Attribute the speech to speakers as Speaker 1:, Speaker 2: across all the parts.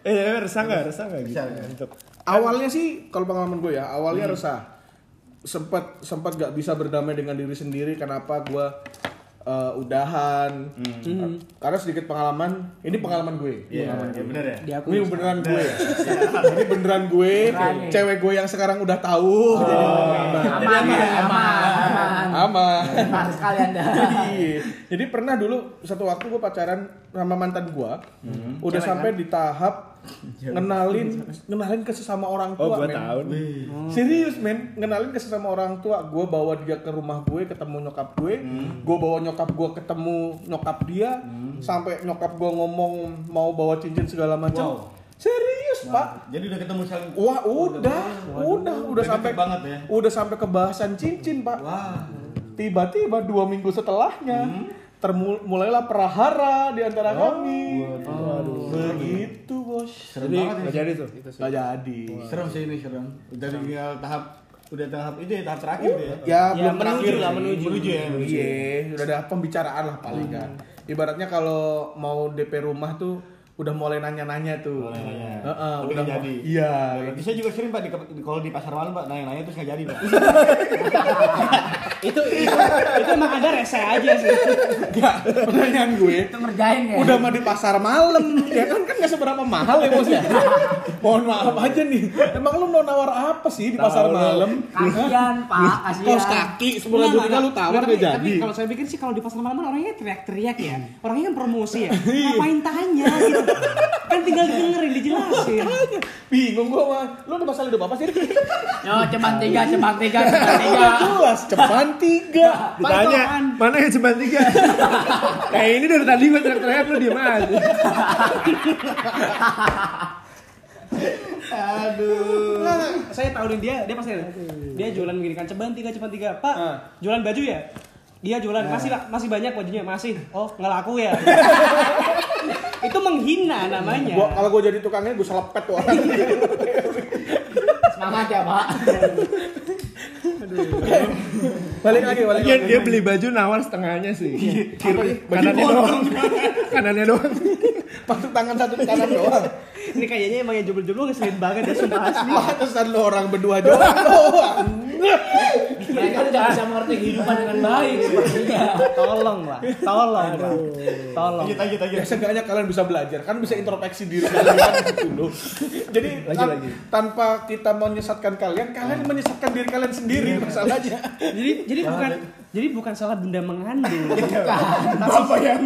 Speaker 1: Eh, tapi resah nggak? Resah nggak gitu?
Speaker 2: Resah, resah.
Speaker 1: Untuk-
Speaker 3: awalnya sih kalau pengalaman gue ya awalnya
Speaker 1: Hmm.
Speaker 3: resah sempat sempat gak bisa berdamai dengan diri sendiri kenapa gue eh, udahan
Speaker 1: Hmm.
Speaker 3: Eh, karena sedikit pengalaman ini pengalaman gue
Speaker 1: Iya, iya bener ya.
Speaker 3: ini beneran gue ya. ini beneran gue cewek gue yang sekarang udah tahu
Speaker 2: Aman,
Speaker 1: Jadi,
Speaker 2: aman, aman.
Speaker 3: aman
Speaker 2: Aman sekali anda.
Speaker 3: Iya. Jadi pernah dulu satu waktu gue pacaran sama mantan gue,
Speaker 1: Hmm.
Speaker 3: udah sampai di tahap ngenalin ngenalin ke sesama orang
Speaker 1: Oh, gua
Speaker 3: tua. men.
Speaker 1: tahu. nih.
Speaker 3: Serius men, ngenalin ke sesama orang tua. Gue bawa dia ke rumah gue, ketemu nyokap gue.
Speaker 4: Hmm.
Speaker 3: Gue bawa nyokap gue ketemu nyokap dia. Sampai nyokap gue ngomong mau bawa cincin segala macam. Serius pak?
Speaker 4: Jadi udah ketemu saling
Speaker 3: Wah udah, udah, udah
Speaker 4: Udah
Speaker 3: sampai
Speaker 4: deket banget ya.
Speaker 3: udah sampai ke bahasan cincin pak.
Speaker 4: Wah.
Speaker 3: Tiba-tiba dua minggu setelahnya
Speaker 4: Hmm.
Speaker 3: termul- mulailah perahara di antara kami. Begitu bos.
Speaker 4: Serem banget ya.
Speaker 1: jadi tuh.
Speaker 3: Gak jadi.
Speaker 4: Serem sih ini serem. Dari tinggal tahap udah tahap itu ya tahap
Speaker 2: Uh.
Speaker 4: terakhir tuh ya.
Speaker 3: Ya,
Speaker 5: Ya,
Speaker 3: belum
Speaker 5: menuju
Speaker 3: terakhir
Speaker 5: lah,
Speaker 3: sih.
Speaker 5: menuju.
Speaker 4: ya.
Speaker 3: Iya, udah ada pembicaraan lah paling kan. Ibaratnya kalau mau DP rumah tuh udah mulai nanya-nanya tuh.
Speaker 4: nanya.
Speaker 3: Heeh,
Speaker 4: Tapi
Speaker 3: udah
Speaker 4: nggak
Speaker 3: jadi.
Speaker 4: jadi.
Speaker 3: Iya.
Speaker 4: Berarti saya juga sering pak di, di- kalau di pasar malam pak nanya-nanya terus nggak jadi pak.
Speaker 5: itu itu itu emang ada rese aja sih
Speaker 3: Enggak, pertanyaan gue
Speaker 2: Itu ngerjain ya.
Speaker 3: udah mah di pasar malam ya kan kan nggak seberapa mahal ya maksudnya mohon maaf aja nih emang lu mau nawar apa sih di pasar malam Iya,
Speaker 2: Kasian pak, kasian.
Speaker 3: kaos kaki sepuluh ribu
Speaker 5: Enggak, enggak,
Speaker 3: lu tawar gak
Speaker 5: enggak, tapi-
Speaker 3: jadi
Speaker 5: Tapi kalau saya pikir sih kalau di pasar malam kan orangnya teriak-teriak ya. Orangnya kan promosi ya.
Speaker 3: Iya.
Speaker 5: Ngapain tanya gitu. Kan tinggal dengerin dijelasin.
Speaker 3: bingung gua mah lu ada masalah hidup apa sih
Speaker 2: Yo, cepat tiga, cepat tiga, cepat tiga.
Speaker 3: udah jelas cepan tiga
Speaker 1: Ditanya, mana yang cuma tiga? Kayak ini dari tadi gue teriak-teriak lu diem aja.
Speaker 5: Nah, saya tahunin dia, dia pasti dia jualan begini kan ceban tiga ceban tiga. Pak,
Speaker 3: Ah.
Speaker 5: jualan baju ya? Dia jualan masih lah- masih banyak bajunya masih. Oh, nggak laku ya? itu menghina namanya.
Speaker 3: gua kalau gua jadi tukangnya gua selepet tuh orang
Speaker 2: Semangat ya pak.
Speaker 3: balik lagi balik
Speaker 1: Iya,
Speaker 3: lagi
Speaker 1: dia beli baju nawar setengahnya sih. Kiri,
Speaker 3: Baju
Speaker 1: kanannya doang. Kanannya doang.
Speaker 3: patung tangan satu di kanan doang
Speaker 5: Ini kayaknya emang yang jubel-jubel ngeselin banget ya sumpah asli.
Speaker 3: pantesan lu orang berdua doang doang
Speaker 2: Mereka Iya, tidak bisa mengerti kehidupan dengan baik sepertinya.
Speaker 5: Tolong lah, tolong lah. Tolong.
Speaker 4: Lanjut lanjut lanjut.
Speaker 3: ya seenggaknya kalian bisa belajar kan bisa introspeksi diri kalian dulu jadi tan- tanpa kita menyesatkan kalian kalian menyesatkan diri kalian sendiri masalahnya
Speaker 5: Jadi jadi bukan jadi bukan salah bunda mengandung.
Speaker 4: Bapak yang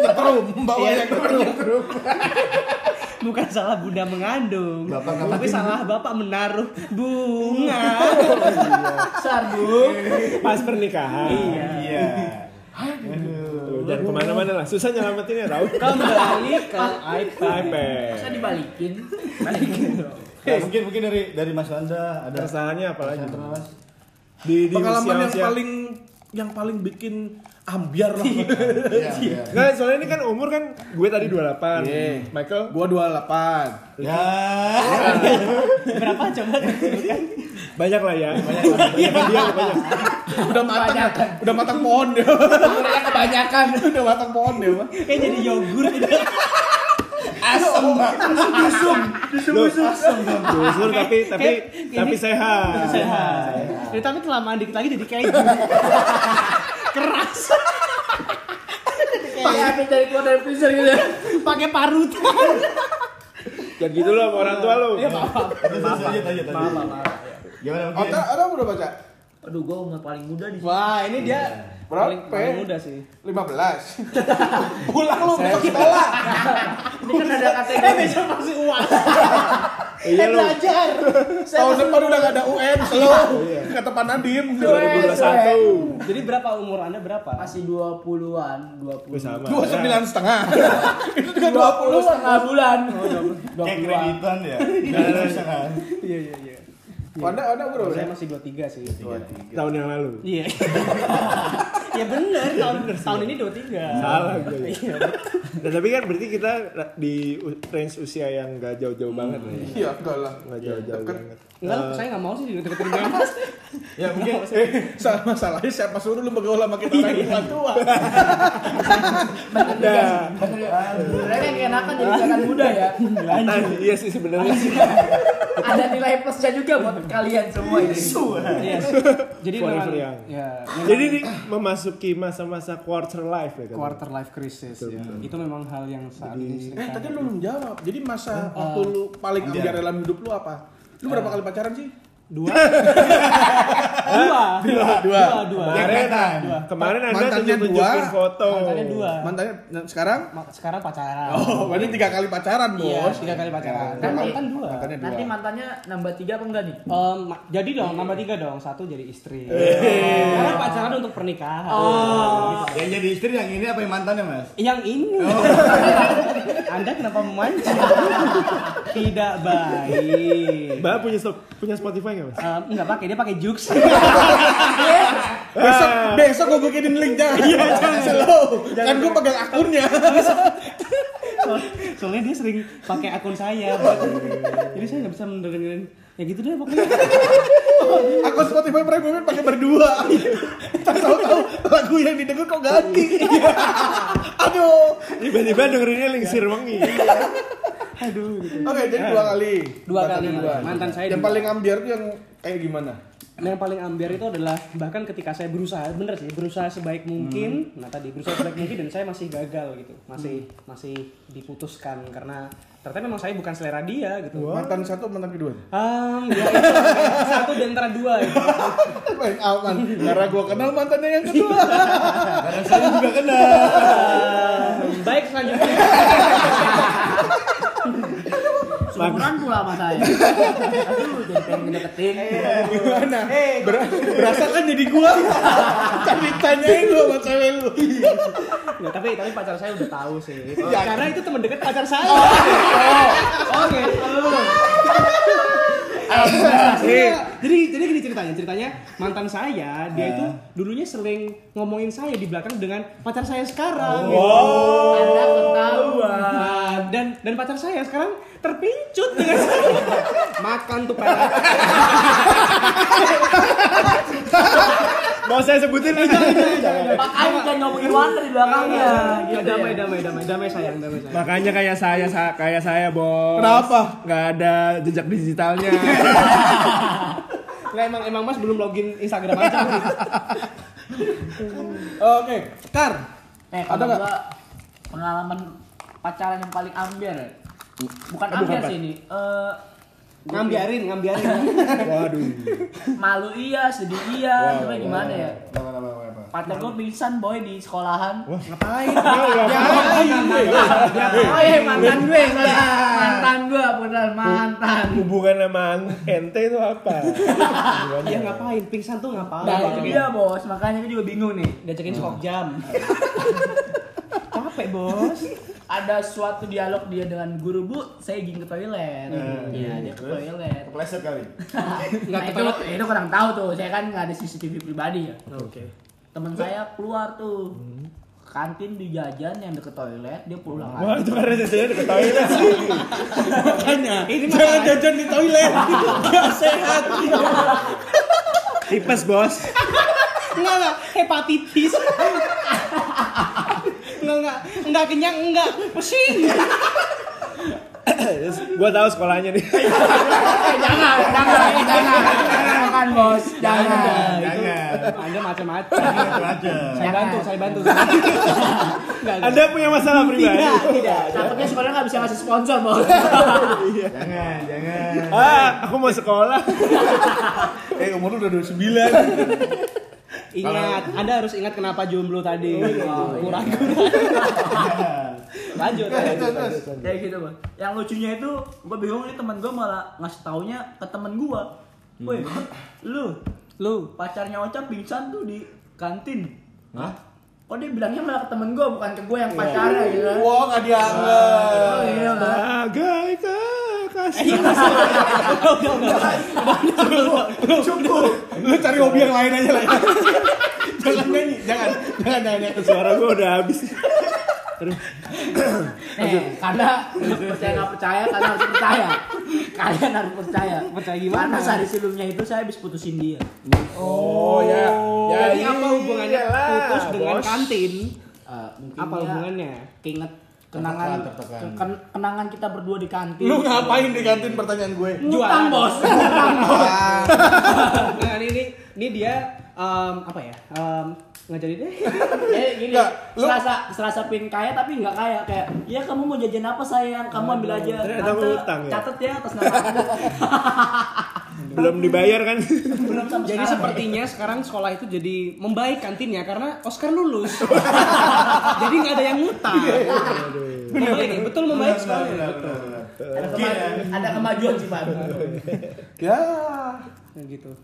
Speaker 3: nyetrum bawa yang nyetrum
Speaker 5: bukan salah bunda mengandung tapi salah bapak menaruh bunga
Speaker 2: Sarbu.
Speaker 1: Pas pernikahan.
Speaker 4: Iya.
Speaker 1: Tuh, jangan kemana-mana lah. Susah nyelamatinnya tau.
Speaker 5: kembali ke
Speaker 2: Bisa dibalikin.
Speaker 4: Nah, mungkin mungkin dari dari Mas Anda ada
Speaker 1: Keresahannya apa lagi?
Speaker 4: Mas Anda, Mas.
Speaker 1: Di, di
Speaker 3: pengalaman yang
Speaker 1: usia-usia-
Speaker 3: paling yang paling bikin ambiar lah
Speaker 4: Iya, iya.
Speaker 1: Nggak, soalnya ini kan umur kan gue tadi 28.
Speaker 3: Iya.
Speaker 1: Michael
Speaker 3: gua 28
Speaker 4: Ya.
Speaker 5: berapa coba
Speaker 1: banyak lah ya. Banyak. Iya, dia banyak.
Speaker 3: udah matang ya? udah matang pohon dia
Speaker 2: Umurnya kebanyakan.
Speaker 3: udah matang pohon dia mah
Speaker 5: kayak jadi yogurt itu
Speaker 1: Dusur, dusur tapi tapi
Speaker 5: Kayak- kayak
Speaker 1: tapi
Speaker 5: ini-
Speaker 1: sehat.
Speaker 5: sehat Ya, tapi kelamaan dikit lagi jadi keju keras
Speaker 2: Pakai api dari keluar dari freezer gitu.
Speaker 5: pakai parutan
Speaker 1: Jangan gitu loh sama orang tua lo.
Speaker 4: Lanjut lanjut lanjut. lanjut. Gimana mungkin?
Speaker 3: otak ada Oh, udah baca
Speaker 2: Aduh, gua umur paling muda di
Speaker 5: wah ini
Speaker 3: Iya.
Speaker 5: dia paling,
Speaker 3: Berapa?
Speaker 5: paling muda sih
Speaker 3: 15 pulang lu besok sekolah
Speaker 2: Ini kan ada
Speaker 5: eh
Speaker 2: kategori.
Speaker 5: besok masih uang
Speaker 1: Iya lo.
Speaker 5: belajar
Speaker 3: tahun depan udah gak ada UN
Speaker 5: Iya.
Speaker 3: lo kata Pak Nadiem
Speaker 1: 2021.
Speaker 5: jadi berapa umur anda berapa
Speaker 2: Masih 20-an, 20.
Speaker 1: Gue sama.
Speaker 3: dua sembilan setengah itu juga dua
Speaker 2: 20 setengah bulan.
Speaker 5: Oh,
Speaker 4: Kayak
Speaker 2: 20-an.
Speaker 4: kreditan ya. Nggak bisa kan?
Speaker 5: iya iya iya
Speaker 3: anda anda bro
Speaker 5: saya masih 23 sih
Speaker 1: Tahun yang lalu.
Speaker 5: iya ya bener tahun tahun ini Iya. 23
Speaker 1: Salah gue. Nah, tapi kan berarti kita di u- range usia yang gak jauh-jauh banget nih.
Speaker 3: Iya, enggak lah.
Speaker 1: Gak jauh-jauh
Speaker 3: Deket.
Speaker 1: banget.
Speaker 5: enggak lah, saya nggak mau sih deket-deketin dia mas
Speaker 4: Ya mungkin
Speaker 3: Sa- masalahnya siapa suruh lu bergaul sama kita orang
Speaker 5: Iya.
Speaker 3: tua tua.
Speaker 2: Sebenarnya kan keenakan jadi kakak muda ya.
Speaker 1: Ah, iya sih sebenarnya sih.
Speaker 2: Ada nilai plusnya juga buat kalian semua ya. ini.
Speaker 5: Yes. Iya. jadi
Speaker 1: Forever
Speaker 5: memang
Speaker 1: young.
Speaker 5: ya memang
Speaker 1: Jadi ini memasuki masa-masa quarter life ya kan.
Speaker 5: quarter life crisis ya itu memang hal yang saat ini sering
Speaker 3: Eh, tadi
Speaker 5: kali-
Speaker 3: lu belum jawab. Jadi masa
Speaker 5: Oh.
Speaker 3: waktu lu paling
Speaker 5: Iya.
Speaker 3: ambiar dalam hidup lu apa? Lu berapa kali pacaran sih?
Speaker 5: Eh. dua dua dua dua dua
Speaker 1: Kemarin, kemarin anda
Speaker 3: Mantannya
Speaker 1: tunjuk-tunjukin
Speaker 3: dua.
Speaker 1: foto.
Speaker 5: Mantannya dua
Speaker 3: Mantannya nah, sekarang?
Speaker 5: Ma- sekarang pacaran
Speaker 3: Oh, berarti tiga kali pacaran, Bos.
Speaker 5: iya tiga kali pacaran kan
Speaker 2: Nanti-
Speaker 5: mantan dua
Speaker 3: Mantannya dua.
Speaker 2: Nanti mantannya nambah tiga apa enggak nih?
Speaker 5: Em, ma- jadi dong nambah tiga dong satu jadi istri karena pacaran untuk pernikahan Gitu.
Speaker 4: yang jadi istri yang ini apa yang mantannya mas?
Speaker 5: yang ini anda kenapa memancing tidak baik
Speaker 1: Mbak punya stok- punya Spotify nggak mas?
Speaker 5: Em, nggak pakai dia pakai Jux
Speaker 3: Besok besok gua bikinin link jangan. Iya, jangan slow. Kan gua pegang akunnya.
Speaker 5: So- soalnya dia sering pakai akun saya buat- jadi saya nggak bisa mendengerin ya gitu deh pokoknya
Speaker 3: Aku Spotify Premium pakai berdua. Tahu-tahu lagu yang didengar kok ganti. Aduh.
Speaker 1: Tiba-tiba dengerinnya lingsir wangi.
Speaker 5: aduh gitu.
Speaker 3: Oke, jadi dua kali.
Speaker 5: dua kali
Speaker 3: Mantannya
Speaker 5: mantan saya
Speaker 3: Yang
Speaker 5: dua.
Speaker 3: paling ambiar tuh yang kayak gimana?
Speaker 5: Nah, yang paling ambiar itu adalah bahkan ketika saya berusaha bener sih berusaha sebaik mungkin nah tadi berusaha sebaik mungkin dan saya masih gagal gitu masih masih diputuskan karena ternyata memang saya bukan selera dia gitu
Speaker 3: Mantan satu, mantan kedua.
Speaker 5: Um, ya itu satu di antara dua itu.
Speaker 3: Paling aman. Karena gua kenal mantannya yang kedua.
Speaker 4: Karena saya juga kenal.
Speaker 5: Um, baik selanjutnya
Speaker 2: Seumuran pula sama saya. Aduh, jadi pengen deketin.
Speaker 5: Iya.
Speaker 3: Gimana?
Speaker 5: Eh.
Speaker 3: Ber- berasa kan jadi gua. Cari tanyain lu sama cewek lu.
Speaker 5: nggak tapi tapi pacar saya udah tahu sih
Speaker 3: Ya.
Speaker 5: karena itu teman dekat pacar saya oke Iya. jadi jadi gini ceritanya ceritanya mantan saya dia itu dulunya sering ngomongin saya di belakang dengan pacar saya sekarang gitu.
Speaker 2: Anda
Speaker 3: Oh.
Speaker 2: ketahuan.
Speaker 5: Nah, dan dan pacar saya sekarang terpincut dengan saya makan tuh pak
Speaker 1: Mau saya sebutin aja.
Speaker 2: Makanya jangan kan ngomongin Wanda di belakangnya.
Speaker 3: Iya,
Speaker 2: Iya,
Speaker 5: ya, damai damai damai damai sayang damai sayang
Speaker 1: Makanya kayak saya sa- kayak saya bos.
Speaker 3: Kenapa?
Speaker 1: Nggak ada jejak digitalnya.
Speaker 5: Nah, emang emang mas belum login Instagram aja
Speaker 3: Oke, Kar.
Speaker 2: Eh,
Speaker 3: Ada
Speaker 2: ada
Speaker 3: nggak?
Speaker 2: nggak pengalaman pacaran yang paling ambiar? ya? Bukan ambiar sih ini. Eh,
Speaker 5: ngambiarin ngambiarin
Speaker 1: Waduh.
Speaker 2: malu iya, sedih iya, tapi gimana ya?
Speaker 4: Apa apa apa, apa?
Speaker 2: Pacar gue pingsan boy di sekolahan.
Speaker 5: ngapain
Speaker 2: Oh iya mantan gue, sorry. mantan gue beneran mantan.
Speaker 1: Hubungan sama ente itu apa?
Speaker 5: Ya ngapain? Pingsan tuh ngapain?
Speaker 2: Nah itu dia bos, makanya gue juga bingung nih.
Speaker 5: Diajakin skok jam. Capek, Bos.
Speaker 2: Ada suatu dialog dia dengan guru bu, saya izin ke toilet. Iya dia ke toilet.
Speaker 4: Kepleset kali.
Speaker 5: Nggak
Speaker 2: Nah,
Speaker 5: ke
Speaker 2: itu, itu kurang tahu tuh, saya kan nggak ada CCTV pribadi ya.
Speaker 5: Oke.
Speaker 2: Temen saya keluar tuh, kantin dijajan yang deket toilet, dia pulang
Speaker 1: Wah
Speaker 2: lagi.
Speaker 1: itu kan karena jajannya deket toilet
Speaker 3: Tanya. Jangan jajan di toilet. Gak sehat.
Speaker 1: Tipes bos
Speaker 5: Enggak, enggak. Hepatitis. Enggak, enggak. Enggak kenyang, enggak. Pusing.
Speaker 1: Terus Gua tahu sekolahnya nih
Speaker 2: Eh, jangan, jangan, jangan, jangan makan bos, jangan.
Speaker 4: Jangan.
Speaker 5: Anda macam-macam.
Speaker 4: Itu aja.
Speaker 5: Saya bantu, saya bantu. Enggak. enggak.
Speaker 1: Anda punya masalah pribadi
Speaker 5: Tidak, tidak.
Speaker 2: Takutnya sekolah nggak bisa ngasih sponsor bos.
Speaker 4: Jangan, jangan.
Speaker 1: Ah, aku mau sekolah
Speaker 3: Eh, umur lu udah 29.
Speaker 5: Ingat, Anda harus ingat kenapa jomblo tadi. Kurang Lanjut. lanjut.
Speaker 2: kayak gitu bang yang lucunya itu gue bingung nih teman gue malah ngasih taunya ke temen gue woi lu
Speaker 5: Lu
Speaker 2: pacarnya Ocha pingsan tuh di kantin
Speaker 4: Hah?
Speaker 2: kok dia bilangnya malah ke temen gue bukan ke gue yang pacarnya gitu kan
Speaker 3: Wah, gak dianggap.
Speaker 2: Oh, iya kan?
Speaker 1: Agai Ah, kasih
Speaker 5: udah, udah, udah.
Speaker 3: Lu cari hobi yang lain aja lah. ya.
Speaker 4: jangan nyanyi, jangan, jangan, jangan, jangan.
Speaker 1: Suara gue udah habis.
Speaker 2: Nih, Eh, karena percaya nggak percaya, kalian harus percaya. Kalian harus percaya.
Speaker 5: Percaya gimana?
Speaker 2: Karena sehari sebelumnya itu saya habis putusin dia.
Speaker 3: Oh ya. Ya
Speaker 5: Jadi apa hubungannya
Speaker 1: iyalah,
Speaker 5: putus dengan
Speaker 1: bos.
Speaker 5: kantin?
Speaker 2: Eh, mungkin
Speaker 5: Apa
Speaker 2: dia
Speaker 5: hubungannya?
Speaker 2: Keinget kenangan
Speaker 4: Tertekan, tertekan.
Speaker 2: ke- ken- kenangan kita berdua di kantin.
Speaker 3: Lu ngapain di kantin pertanyaan gue?
Speaker 2: Ngutang, Bos.
Speaker 5: Ya. Nah, ini ini, ini dia em, apa ya? Em, nggak jadi deh.
Speaker 2: Jadi gini,
Speaker 3: Nggak, lu-
Speaker 2: serasa serasa pengen kaya tapi nggak kaya kayak, "Ya kamu mau jajan apa sayang? Kamu ambil aja."
Speaker 1: Ternyata
Speaker 2: Tante,
Speaker 1: ngutang ya?
Speaker 2: Catet ya atas nama aku.
Speaker 1: Belum dibayar kan?
Speaker 2: Belum sama
Speaker 5: Jadi
Speaker 2: sekarang.
Speaker 5: sepertinya sekarang sekolah itu jadi membaik kantinnya karena Oscar lulus. jadi nggak ada yang ngutang. iya. membaik ya, betul membaik sekali.
Speaker 4: benar, benar.
Speaker 2: ada, kema- ada kemajuan sih, Pak.
Speaker 3: Ya.
Speaker 5: Nah, gitu.